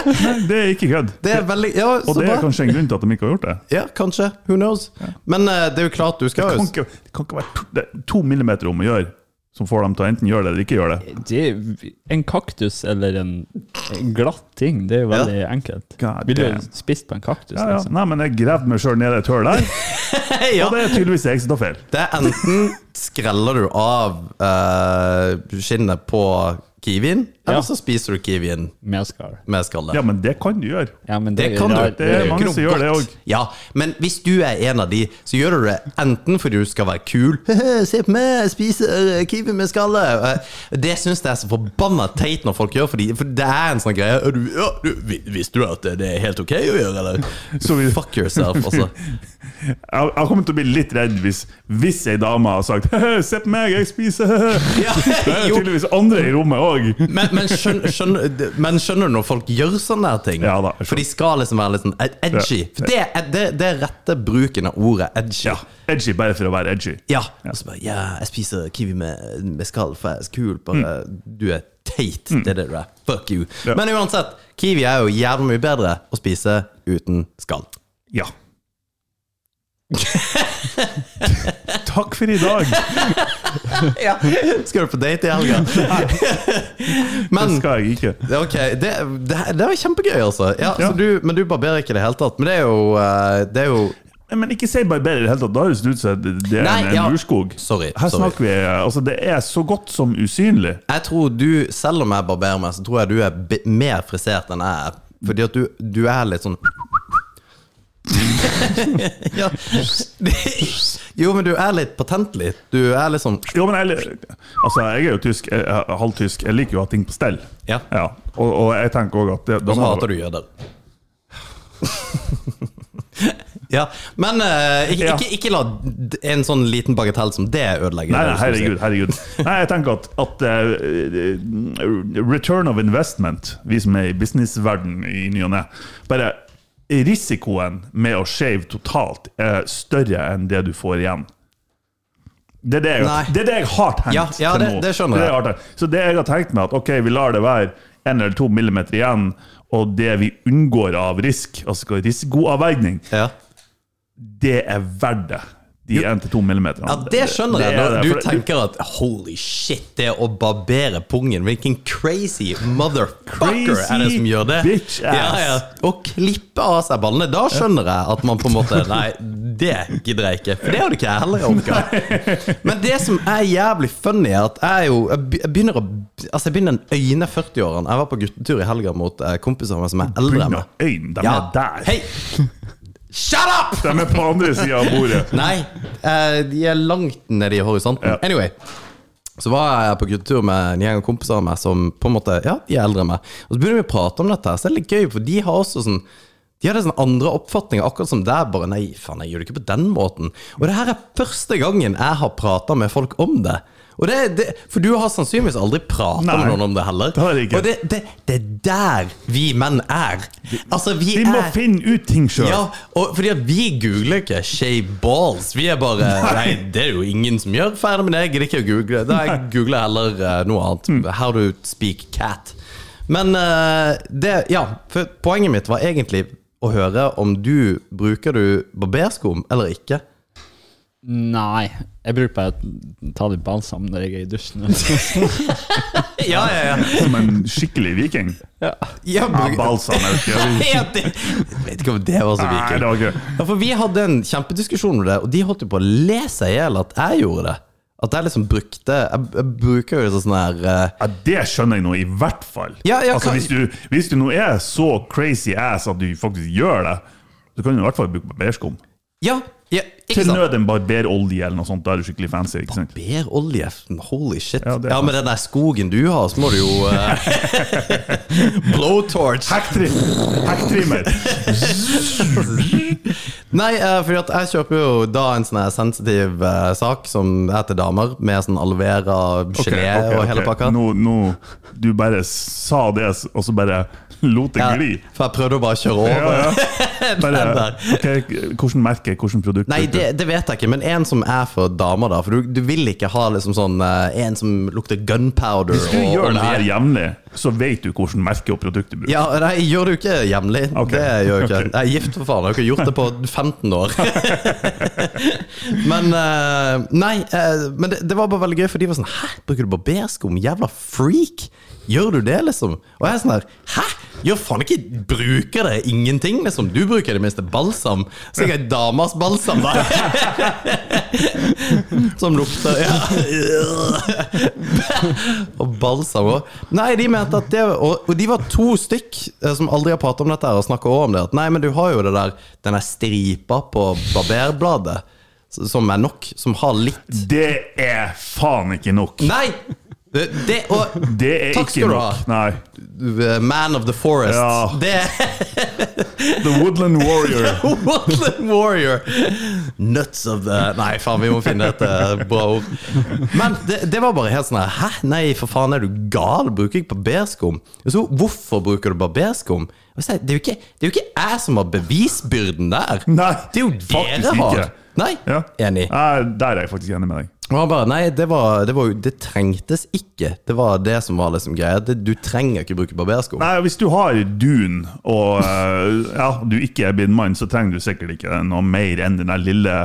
S7: Det er ikke kødd.
S6: Det er veldig Ja, så
S7: Og det
S6: bra.
S7: er kanskje en grunn til at de ikke har gjort det.
S6: Ja, kanskje. Who knows? Men eh, det er jo klart, du skal
S7: Det
S6: jo
S7: kan ikke, det kan ikke være to, det er to millimeter om å gjøre som får dem til å enten gjøre det eller ikke gjøre det.
S8: Det, en kaktus eller en en glatt ting, det er jo veldig enkelt.
S7: God
S8: Vil
S7: damn.
S8: du spist på en kaktus?
S7: Ja, ja.
S8: liksom?
S7: Nei, men jeg gravde meg sjøl ned i et hull der,
S6: ja,
S7: og det er tydeligvis jeg som tar feil.
S6: Det er enten skreller du av eh, skinnet på kiwien, eller
S8: Ja.
S6: så spiser du kiwien
S8: med skall.
S6: med skallet.
S7: Ja, men det kan du gjøre.
S8: Ja, men
S6: Det
S8: er
S6: kan du.
S8: rart.
S7: Det er
S6: jo
S7: mange
S6: ikke
S7: som
S6: noe
S7: gjør det
S6: godt. Ja, men hvis du er en av de, så gjør du det enten fordi du skal være kul Se på meg, jeg spiser øh, kiwi med skalle. Eh, Det syns jeg er så forbanna teit når folk gjør, fordi, for det er en sånn greie «Å, du, ja, du, vi- Visste du at det er helt ok å gjøre, eller?
S7: Så vi-
S6: Fuck yourself, altså.
S7: Jeg, jeg kommer til å bli litt redd hvis, hvis ei dame har sagt «Hehe, 'se på meg, jeg spiser'. hehe».
S6: Ja,
S7: Det er
S6: jo.
S7: tydeligvis andre i rommet òg.
S6: Men, men, skjønner, skjønner, men skjønner du når folk gjør sånne her ting?
S7: Ja da, jeg skjønner.
S6: for de skal liksom være litt sånn ed- edgy. For det er det, det er rette bruken av ordet edgy.
S7: Ja, edgy bare for å være edgy.
S6: Ja. Og så bare Ja, jeg spiser kiwi med, med skall, for jeg er så kul. Bare Du er teit. Det er det du er. Fuck you.
S7: Mm. Ja.
S6: Men uansett, kiwi er jo jævlig mye bedre å spise uten skall.
S7: Ja. Takk for i dag.
S6: Skal du på date i helga?
S7: Det
S6: Men
S7: skal jeg ikke.
S6: det er Ok, det, det, det var kjempegøy, altså. Ja,
S7: Ja.
S6: Så du, men du barberer ikke i det hele tatt. Men det er jo, eh, det er jo
S7: Nei, Men ikke si barberer i det hele tatt. Da høres det ut som det er
S6: Nei,
S7: en, en
S6: ja.
S7: urskog.
S6: Sorry,
S7: Her
S6: sorry.
S7: snakker vi Altså, det er så godt som usynlig.
S6: Jeg tror du, selv om jeg barberer meg, så tror jeg du er bi- mer frisert enn jeg er. Fordi at du, du er litt sånn ja. Jo, men du er litt patentlig. Du er litt sånn
S7: Jo, men jeg, altså, jeg er jo tysk, jeg er halvtysk. Jeg liker jo å ha ting på stell.
S6: Ja.
S7: Og, og jeg tenker òg at Sånn
S6: Og
S7: det,
S6: så hater du jøder. ja, men eh, ikke,
S7: Ja.
S6: ikke, ikke la d- en sånn liten bagatell som det ødelegge.
S7: Nei, nei,
S6: det du
S7: herregud.
S6: skulle si.
S7: herregud. Nei, jeg tenker at, at eh, return of investment, vi som er i businessverden i ny og ne, bare risikoen med å shave totalt er større enn det du får igjen. Det er det jeg,
S6: Nei.
S7: det er det jeg har tenkt
S6: Ja, ja,
S7: til
S6: det-
S7: nå.
S6: det skjønner
S7: er
S6: jeg.
S7: har tenkt. Så det jeg har tenkt meg, at ok, vi lar det være en eller to millimeter igjen, og det vi unngår av risk, altså risikoavveining,
S6: Ja.
S7: det er verdt det. De 1-2 millimeterne.
S6: ja, det skjønner jeg.
S7: er
S6: Når
S7: det,
S6: du
S7: for det-
S6: tenker at holy shit, det å barbere pungen Hvilken crazy motherfucker er det som gjør det?
S7: bitch ass.
S6: Ja, ja. Å klippe av seg ballene, da skjønner jeg at man på en måte Nei, det gidder jeg ikke. For det hadde ikke jeg heller orka. Men det som er jævlig funny, er at jeg er jo jeg be- jeg begynner å Altså, jeg begynner å øyne 40-årene. Jeg var på guttetur i helga mot eh, kompiser av meg som er eldre enn
S7: Begynner
S6: meg.
S7: øynene, de er der.
S6: Hei! Shut up!
S7: De er på andre sida av bordet.
S6: Nei, eh, de er langt nede i horisonten. Anyway. Så var jeg på guttetur med en gjeng av kompiser av meg som på en måte, ja, de er eldre enn meg. Og så begynner vi å prate om dette, her, så det er litt gøy, for de har også sånn de hadde sånn andre oppfatninger, akkurat som deg. Bare nei, faen, jeg gjør det ikke på den måten. Og det her er første gangen jeg har prata med folk om det. Og det, det. For du har sannsynligvis aldri prata
S7: Nei,
S6: med noen om det heller.
S7: det har jeg ikke.
S6: Og det, det, det er der vi menn er. Altså, vi
S7: Vi må
S6: er
S7: finne ut ting sjøl.
S6: ja, og fordi at vi googler ikke shave balls. Vi er bare Nei, det er jo ingen som gjør. Ferdig med det, jeg gidder ikke å google. Da jeg googler heller eh, noe annet. How to speak cat. Men eh, det Ja, for poenget mitt var egentlig å høre om du bruker du barbersko eller ikke.
S8: Nei, jeg bruker bare å ta litt balsam når jeg er i dusjen.
S6: Ja, ja, ja.
S7: Som en skikkelig viking.
S6: ja
S7: Ja,
S6: bruk-
S7: Balsam er ikke Nei,
S6: Ja, det- Jeg vet ikke om det var så
S7: det
S6: viking.
S7: var ikke
S6: Ja, for vi hadde en kjempediskusjon om det, og de holdt jo på å le seg i hjel at jeg gjorde det. At jeg liksom brukte Jeg, jeg bruker jo sånn her eh,
S7: ja, Det skjønner jeg nå, i hvert fall.
S6: Ja, ja,
S7: altså,
S6: kan-
S7: hvis, du, hvis du nå er så crazy ass at du faktisk gjør det, så kan du i hvert fall bruke barberskum.
S6: Ja, ja ikke
S7: Til
S6: sant?
S7: nød en barberolje eller noe sånt. Da er du skikkelig fancy. ikke sant?
S6: Barberolje, holy shit.
S7: Ja,
S6: Ja,
S7: det er sant.
S6: Med den der skogen du har, så må du jo eh, Blowtorch.
S7: Hacktrim- Hacktrimmer!
S6: Nei, eh, fordi at jeg kjøper jo da en sånn her sensitiv eh, sak som er til damer, med sånn aloe vera, gelé
S7: Ok, ok,
S6: og hele
S7: ok.
S6: pakka.
S7: Nå, nå, du bare sa det, og så bare lot det
S6: Ja,
S7: gli.
S6: for jeg prøvde å bare kjøre over.
S7: Ja, ja.
S6: den
S7: Bare,
S6: der.
S7: ok, hvordan merke, hvordan produkt
S6: Nei,
S7: bruker du?
S6: det, det vet jeg ikke, men en som er for damer, da. For du, du vil ikke ha liksom sånn eh, en som lukter gunpowder.
S7: Hvis du
S6: og
S7: gjør det
S6: olje.
S7: her jevnlig, så vet du hvordan merke og produkt du bruker.
S6: Ja, nei, jeg gjør det jo ikke jevnlig.
S7: Ok.
S6: Det gjør jeg ikke.
S7: Ok.
S6: Jeg er gift, for faen. Jeg har ikke gjort det på 15 år. men eh, Nei, eh, men det, det var bare veldig gøy, for de var sånn Hæ, bruker du barberskum? Jævla freak! Gjør du det, liksom? Og jeg er sånn her Hæ? Gjør faen ikke Bruker det ingenting, liksom? Du bruker det minste balsam. Sikkert damas balsam, da. Som lukter ja. Og balsam òg. Nei, de mente at det Og, og de var to stykk eh, som aldri har pratet om dette her, og snakka òg om det. At nei, men du har jo det der den der stripa på barberbladet s- som er nok. Som har litt
S7: Det er faen ikke nok.
S6: Nei! Det, det og
S7: Det er
S6: Takk skal
S7: ikke
S6: du
S7: nok. Nei.
S6: uh, Man of the Forest.
S7: Ja.
S6: Det
S7: The Woodland Warrior.
S6: Woodland Warrior! Nuts of the Nei, faen, vi må finne et eh, bra ord. Men det, det var bare helt sånn her Hæ, nei, for faen, er du gal? Bruker ikke barberskum? Og så, hvorfor bruker du barberskum? Og så, det, er jo ikke, det er jo ikke jeg som har bevisbyrden der.
S7: Nei,
S6: det er jo
S7: faktisk
S6: dere har.
S7: ikke.
S6: Nei,
S7: Ja.
S6: enig.
S7: Nei, der er jeg faktisk enig med deg.
S6: Og han bare Nei, det, var, det, var, jo- det trengtes ikke. Det var det som var liksom greia. Det- Du trenger ikke bruke barberskum.
S7: Nei, Hvis du har dun, og eh, ja, du ikke er blindmann, så trenger du sikkert ikke noe mer enn den der lille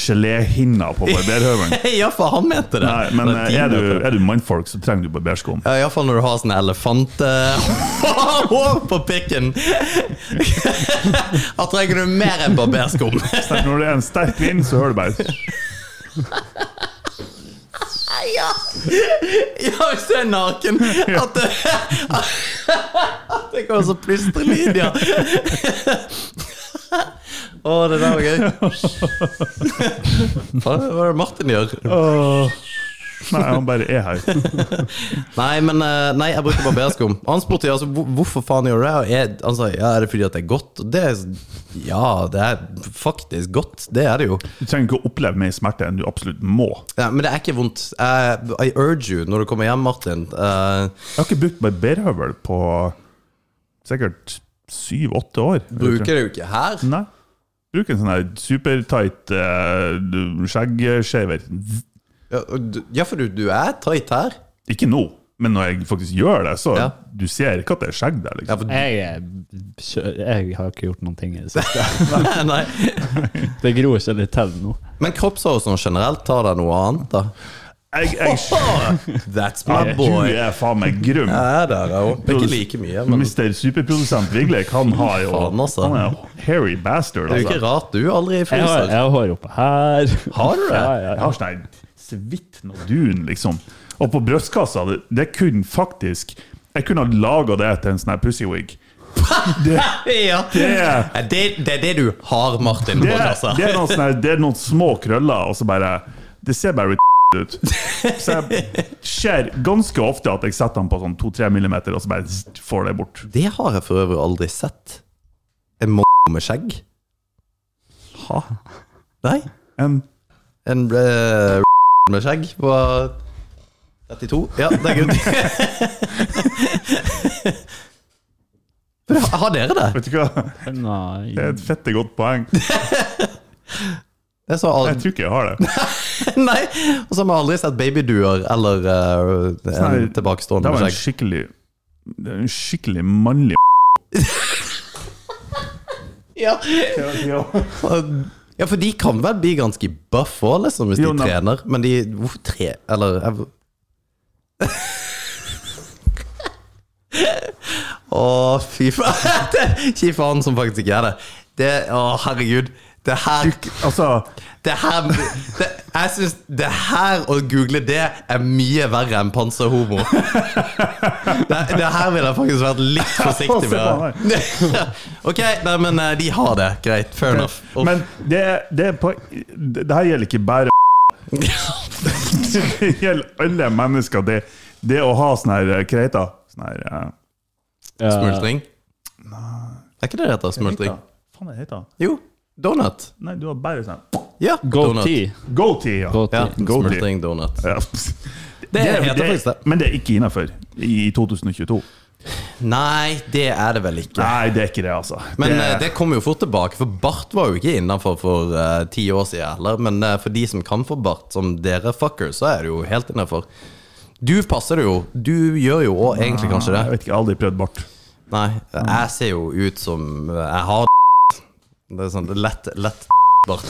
S7: geléhinna på barberhøvelen.
S6: Ja, for han mente det.
S7: Nei, men
S6: Eller
S7: eh,
S6: de
S7: er
S6: mente
S7: du,
S6: det.
S7: er du mannfolk, så trenger du barberskum.
S6: Ja, Iallfall når du har sånn elefanthår på pikken. Da trenger du mer enn barberskum.
S7: Sterk- Når det er en sterk vind, så hører du bare
S6: Ja. ja, hvis du er naken, at det, at det går så plystrelinjer. Å, det der var gøy. Hva er det Martin gjør?
S7: Åh. Nei, han bare er her.
S6: Nei, men eh, nei, jeg bruker barberskum. Og Han spurte ja, altså, hvor- hvorfor faen gjør du det. Og jeg, han sa ja, er det fordi at det er godt? Og det er, ja, det er faktisk godt. Det er det jo.
S7: Du trenger ikke å oppleve mer smerte enn du absolutt må.
S6: Ja, men det er ikke vondt. Jeg, I urge you når du kommer hjem, Martin. Eh,
S7: Jeg har ikke brukt barberhøvel på sikkert syv-åtte år.
S6: bruker det jo ikke her.
S7: Nei. Bruk en sånn her supertight uh, skjeggskjever.
S6: Ja, og du- Ja, for du, du er tight her.
S7: Ikke nå, men når jeg faktisk gjør det, så
S6: Ja.
S7: du ser ikke at det er skjegg der.
S6: Ja,
S7: liksom.
S6: for,
S8: Jeg, er- kjø- jeg har ikke gjort noen ting i det siste.
S6: nei.
S8: Det gror seg litt til nå.
S6: Men kroppshår sånn generelt, tar deg noe annet, da?
S7: Jeg, jeg,
S6: That's
S7: ja,
S6: my
S7: du
S6: boy.
S7: er faen meg grum.
S6: Ja, det er det jo. Ikke like mye, men det
S7: Mister superprodusent Vigleik, han har jo
S6: Faen, altså.
S7: Han er jo hairy bastard.
S6: er jo ikke
S7: Altså.
S6: rart du aldri
S8: Jeg har, jeg
S6: fryser.
S8: har hår oppe her.
S6: Har du det?
S8: Ja, ja,
S7: Jeg
S8: ja.
S7: har sånn her svitt noe dun, liksom. Og på brystkassa, det, det kunne faktisk Jeg kunne ha laga det til en sånn her pussywig.
S6: Ja.
S7: Det-
S6: Nei, Det, det er det du har, Martin. altså.
S7: Det,
S6: på kassa.
S7: det, er noen sånne, det er noen små krøller, og så bare Det ser bare ut. Så jeg ser ganske ofte at jeg setter den på sånn 2-3 millimeter, og så bare får det bort.
S6: Det har jeg for øvrig aldri sett. En m*** med skjegg?
S7: Ha.
S6: Nei.
S7: En
S6: En eh, med skjegg på 32. Ja, det er good. Bra, Har dere det?
S7: Vet du hva,
S8: Nei.
S7: det er et fette godt poeng.
S6: Jeg så
S7: Jeg
S6: aldri,
S7: tror ikke jeg har det.
S6: nei, og så har vi aldri sett babyduer eller eh,
S7: Sånn
S6: en
S7: her-
S6: tilbakestående
S7: Det var
S6: med
S7: en
S6: skjegg.
S7: skikkelig det er En skikkelig mannlig
S6: Ja. ja, for de kan vel bli ganske buff òg, liksom, hvis
S7: Jo,
S6: de
S7: nei.
S6: trener. Men de Hvorfor tre... Eller jeg... Å, fy faen. Det- Fy faen som faktisk ikke er det. Det Å, herregud. Det her
S7: Altså,
S6: Det her det, Jeg syns det her å google det er mye verre enn panserhomo. Det, det her ville jeg faktisk vært litt forsiktig med. Ok, nei, men eh, de har det. Greit. Fair enough. Og-
S7: Men det, det, er på, det, det her gjelder ikke bare Det gjelder alle mennesker. Det, det å ha sånne her eh, kreiter Sånne her eh,
S8: Ja.
S6: Smultring? Er ikke det det heter? Smultring?
S7: Faen, det heter
S6: Jo. Donut.
S7: Nei, du har bare sånn
S6: Ja. donut.
S8: Goatee.
S7: Goatee, ja.
S8: Goatee.
S6: Ja,
S7: Goatee.
S6: Smultring donut.
S7: ja.
S6: Det heter faktisk det.
S7: Men det er ikke innafor i 2022.
S6: Nei, det er det vel ikke.
S7: Nei, det er ikke det, altså.
S6: Men eh,
S7: det,
S6: det kommer jo fort tilbake, for bart var jo ikke innafor for eh, ti år siden heller. Men eh, for de som kan få bart, som dere fuckers, så er det jo helt innafor. Du passer det jo. Du gjør jo òg egentlig kanskje det.
S7: Jeg vet ikke, jeg har aldri prøvd Eh, bart.
S6: Nei, jeg ser jo ut som eh, Jeg har Det er sånn det er lett, lett bart.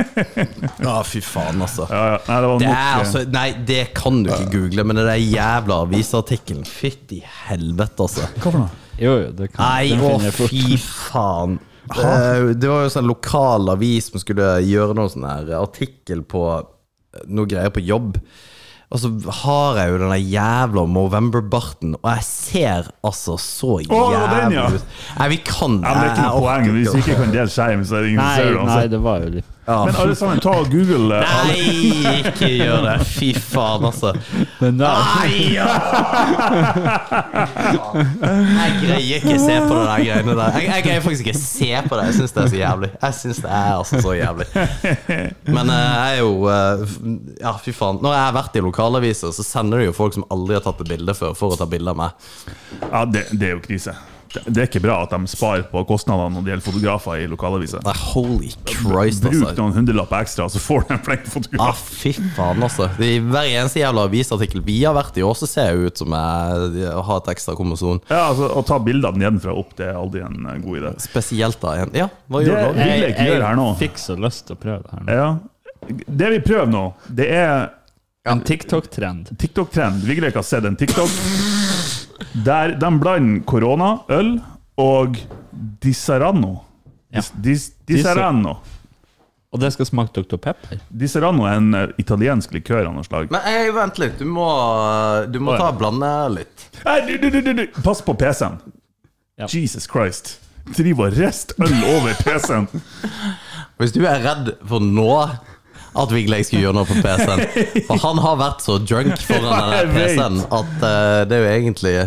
S6: Å, fy faen, altså.
S7: Ja, ja. Nei, det var
S6: Det
S7: nok,
S6: er
S7: eh,
S6: altså Nei, det kan du ikke google, men det der jævla avisartikkelen Fytti helvete, altså.
S7: Hva for noe?
S8: Jo, jo, det kan
S6: Nei,
S8: den
S6: å
S8: finner jeg fort.
S6: fy faen. Eh, Det var jo sånn lokal avis som skulle gjøre noen sånn her artikkel på eh, noe greier på jobb. Og så har jeg jo den der jævla Movember-barten, og jeg ser altså så
S7: Å, det var den, ja.
S6: jævlig ut. Nei, vi kan
S7: Ja, men det er ikke noe poeng. Hvis vi ikke kan dele skjerm, så er det ingen som ser
S8: Nei,
S7: det.
S8: nei,
S7: uansett.
S8: det var jo litt
S6: Ja.
S7: Men alle sammen, ta og google eh, alle.
S6: Nei, ikke gjør det. Fy faen, altså.
S8: Den der.
S6: Nei, ja! Jeg greier ikke se på det der greiene der. Jeg, jeg greier faktisk ikke se på det. Jeg syns det er så jævlig. Jeg synes det er altså så jævlig. Men eh, jeg er jo eh, f- Ja, fy faen. Når jeg har vært i lokalaviser, så sender det jo folk som aldri har tatt et bilde før, for å ta bilde av meg.
S7: Ja, det, det er jo krise. Det det er ikke bra at de sparer på kostnadene når det gjelder fotografer i lokalaviser.
S6: Nei, holy Ah, Christ,
S7: Bruk
S6: altså.
S7: noen hundrelapper ekstra, så får du en flink
S6: Ah,
S7: fotograf.
S6: fy faen, altså. I hver eneste jævla avisartikkel vi har vært i år, så ser jeg ut som jeg har et ekstra kromosom.
S7: Ja, altså, Å ta bilder av den nedenfra og opp, det er aldri en eh, god idé.
S6: Spesielt da igjen. Ja, hva gjør
S7: Det-
S6: du nå?
S7: vil jeg ikke gjøre her nå.
S8: fikk så lyst til å prøve det her nå.
S7: Ja. Det vi prøver nå, det er
S8: En TikTok-trend.
S7: TikTok-trend. Vi greier ikke å se den TikTok. Der de blander korona, øl og Disarano.
S8: Ja.
S7: Dis, dis, Disarano.
S8: Og det skal smake Dr. Pepper.
S7: Disarano er en eh, italiensk likør av noe slag.
S6: Men eh, vent litt, du må, eh, du må
S7: Å,
S6: ta
S7: ja.
S6: og blande litt.
S7: Nei, du, du, du, du, du. Pass på PC-en.
S8: Ja.
S7: Jesus Christ. Driver og rest øl over PC-en.
S6: Hvis du er redd for nå at Vigleik skal gjøre noe på PC-en For han har vært så drunk foran
S7: Ja, jeg
S6: den der
S7: vet.
S6: PC-en at eh, det er jo egentlig Vi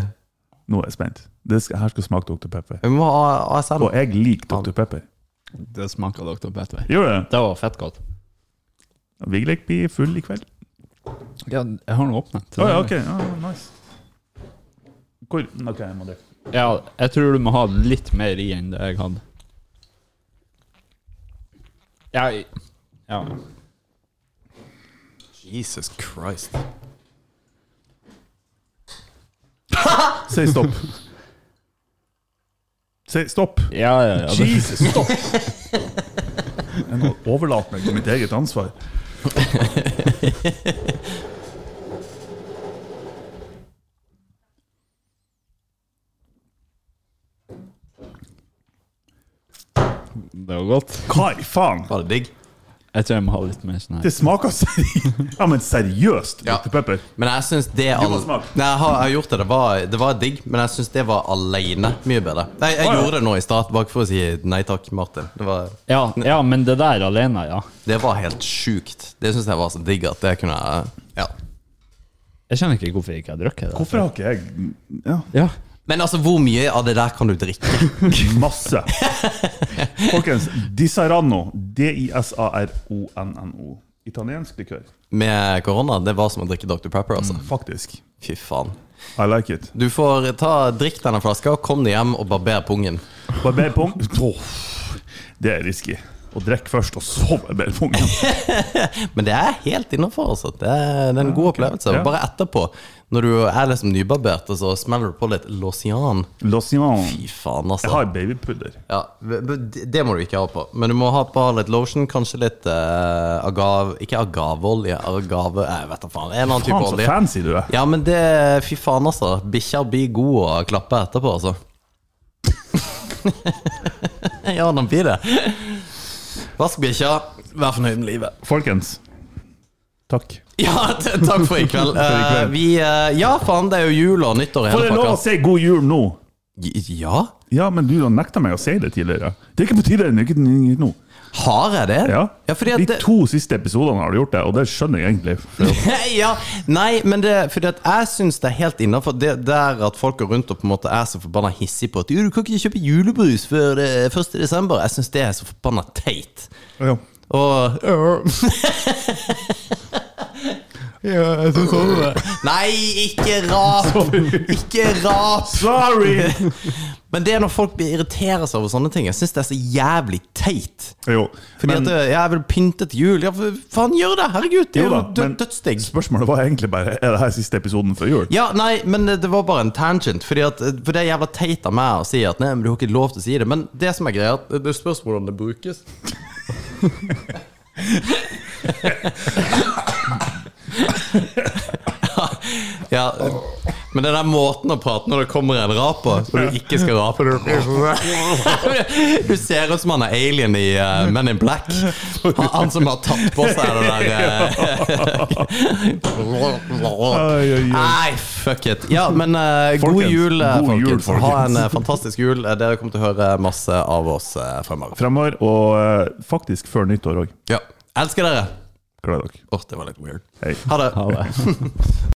S7: Nå er jeg spent. Det skal, her skal smake Dr. Pepper.
S6: må ha ASN.
S7: Og jeg liker Dr. Pepper.
S8: Det smaker Dr. Pepper.
S7: Gjør det?
S8: Det var fett godt.
S7: Vigleik blir full i kveld.
S8: Ja, jeg har den åpnet.
S7: Å ja, ok. Ja, nice. Hvor Ok, jeg må drikke.
S8: Ja, jeg tror du må ha litt mer i enn det jeg hadde. Ja, i- ja.
S6: Jesus Christ.
S7: Si stopp. Si stopp.
S8: ja, ja, ja det,
S7: Jesus, stopp! Jeg nå overlater meg til mitt eget ansvar.
S8: det var godt.
S7: Hva i faen?
S6: Var det digg?
S8: Jeg tror jeg må ha litt mer sånn her.
S7: Det smaker seriøst. Ja, men seriøst,
S6: Ja.
S7: Dr. Pepper.
S6: Men jeg syns det
S7: Du må
S6: al-
S7: smake.
S6: Nei, jeg har, jeg har gjort det. Det var, det var digg, men jeg syns det var aleine mye bedre. Nei, jeg
S7: Å, ja.
S6: gjorde det nå i stad, bare for å si nei takk, Martin. Det var,
S8: Ja, ja, men det der alene, ja.
S6: det var helt sjukt. Det syns jeg var så digg at det kunne jeg Ja.
S8: Jeg skjønner ikke hvorfor jeg ikke har drukket det.
S7: Hvorfor har ikke jeg ja,
S8: Ja.
S6: Men altså, hvor mye av det der kan du drikke?
S7: masse? Folkens, Disarano. D-i-s-a-r-o-n-n-o. Italiensk likør.
S6: Med korona, det var som å drikke Dr. Pepper, altså.
S7: Mm. Faktisk.
S6: Fy faen.
S7: I like it.
S6: Du får ta drikk denne flaska, kom deg hjem og barber pungen.
S7: Barberpung. Åh, Det er risky. Å drikke først, og så barberpungen.
S6: Men det er helt innafor, altså. Det er, det er en god opplevelse.
S7: Ja.
S6: Bare etterpå, når du er liksom nybarbert, og så smeller du på litt Lausian.
S7: Lotion.
S6: Fy faen, altså.
S7: Jeg har babypudder.
S6: Ja, b- b- det må du ikke ha på. Men du må ha på litt lotion, kanskje litt eh, agav... Ikke agaveolje, agave... Jeg vet da faen. En annen
S7: Faen,
S6: type
S7: så
S6: olje.
S7: fancy du er.
S6: Ja, men det Fy faen, altså. Bikkja blir god å klappe etterpå, altså. ja, den blir det. Vask bikkja, vær fornøyd med livet.
S7: Folkens, takk.
S6: Ja, t takk for i kveld.
S7: i kveld.
S6: Eh, vi eh, Ja, faen, det er jo jul og nyttår i
S7: Får jeg
S6: hele
S7: lov å
S6: pakka.
S7: si god jul nå?
S6: J- Ja?
S7: Ja, men du nekta meg å si det tidligere. Det er ikke på tide. det er ikke nå.
S6: Har jeg det?
S7: Ja.
S6: ja fordi at
S7: De to siste episodene har du gjort det, og det skjønner jeg egentlig. For
S6: ja, nei, men det Fordi at jeg syns det er helt innafor. Det der at folk går rundt og på en måte er så forbanna hissige på at «Jo, du kan ikke kjøpe julebrus før det er 1. desember. Jeg syns det er så forbanna teit.
S7: ja.
S6: Og Nei, ikke rap! Ikke rap!
S7: Sorry!
S6: Men det er når folk blir irriterer seg over sånne ting. Jeg syns det er så jævlig teit.
S7: Jo,
S6: Fordi
S7: men,
S6: at øh, jeg vil pynte til jul. Ja, for faen, gjør det! Herregud, det er jo
S7: Jo da,
S6: død,
S7: men-
S6: dødsdigg.
S7: spørsmålet var egentlig bare Er det her siste episoden før jul.
S6: Ja, nei, men eh, det var bare en tangent. Fordi at, eh, for det er jævla teit av meg å si at nei, men du har ikke lov til å si det. Men det som er greia, er at eh, det spørs hvordan det brukes. ja, Men den der måten å prate når det kommer en rap på, så du ikke skal rape Du du ser ut som han er alien i eh, Men in Black. Han, han som har tatt på seg det eh, der
S7: Ai, ai, ai.
S6: eh. Nei, fuck it. Ja, men eh, god
S7: Folkens,
S6: jul, eh,
S7: god jul,
S6: folkens. Ha en eh,
S7: folkens.
S6: fantastisk jul. Eh, Dere kommer til å høre masse av oss eh, fremover.
S7: Fremover, og eh, faktisk før nyttår òg.
S6: Ja. Elsker dere.
S7: Gleder dere.
S6: Åh, det var litt weird.
S7: Hei.
S6: Ha det.
S8: Ha det.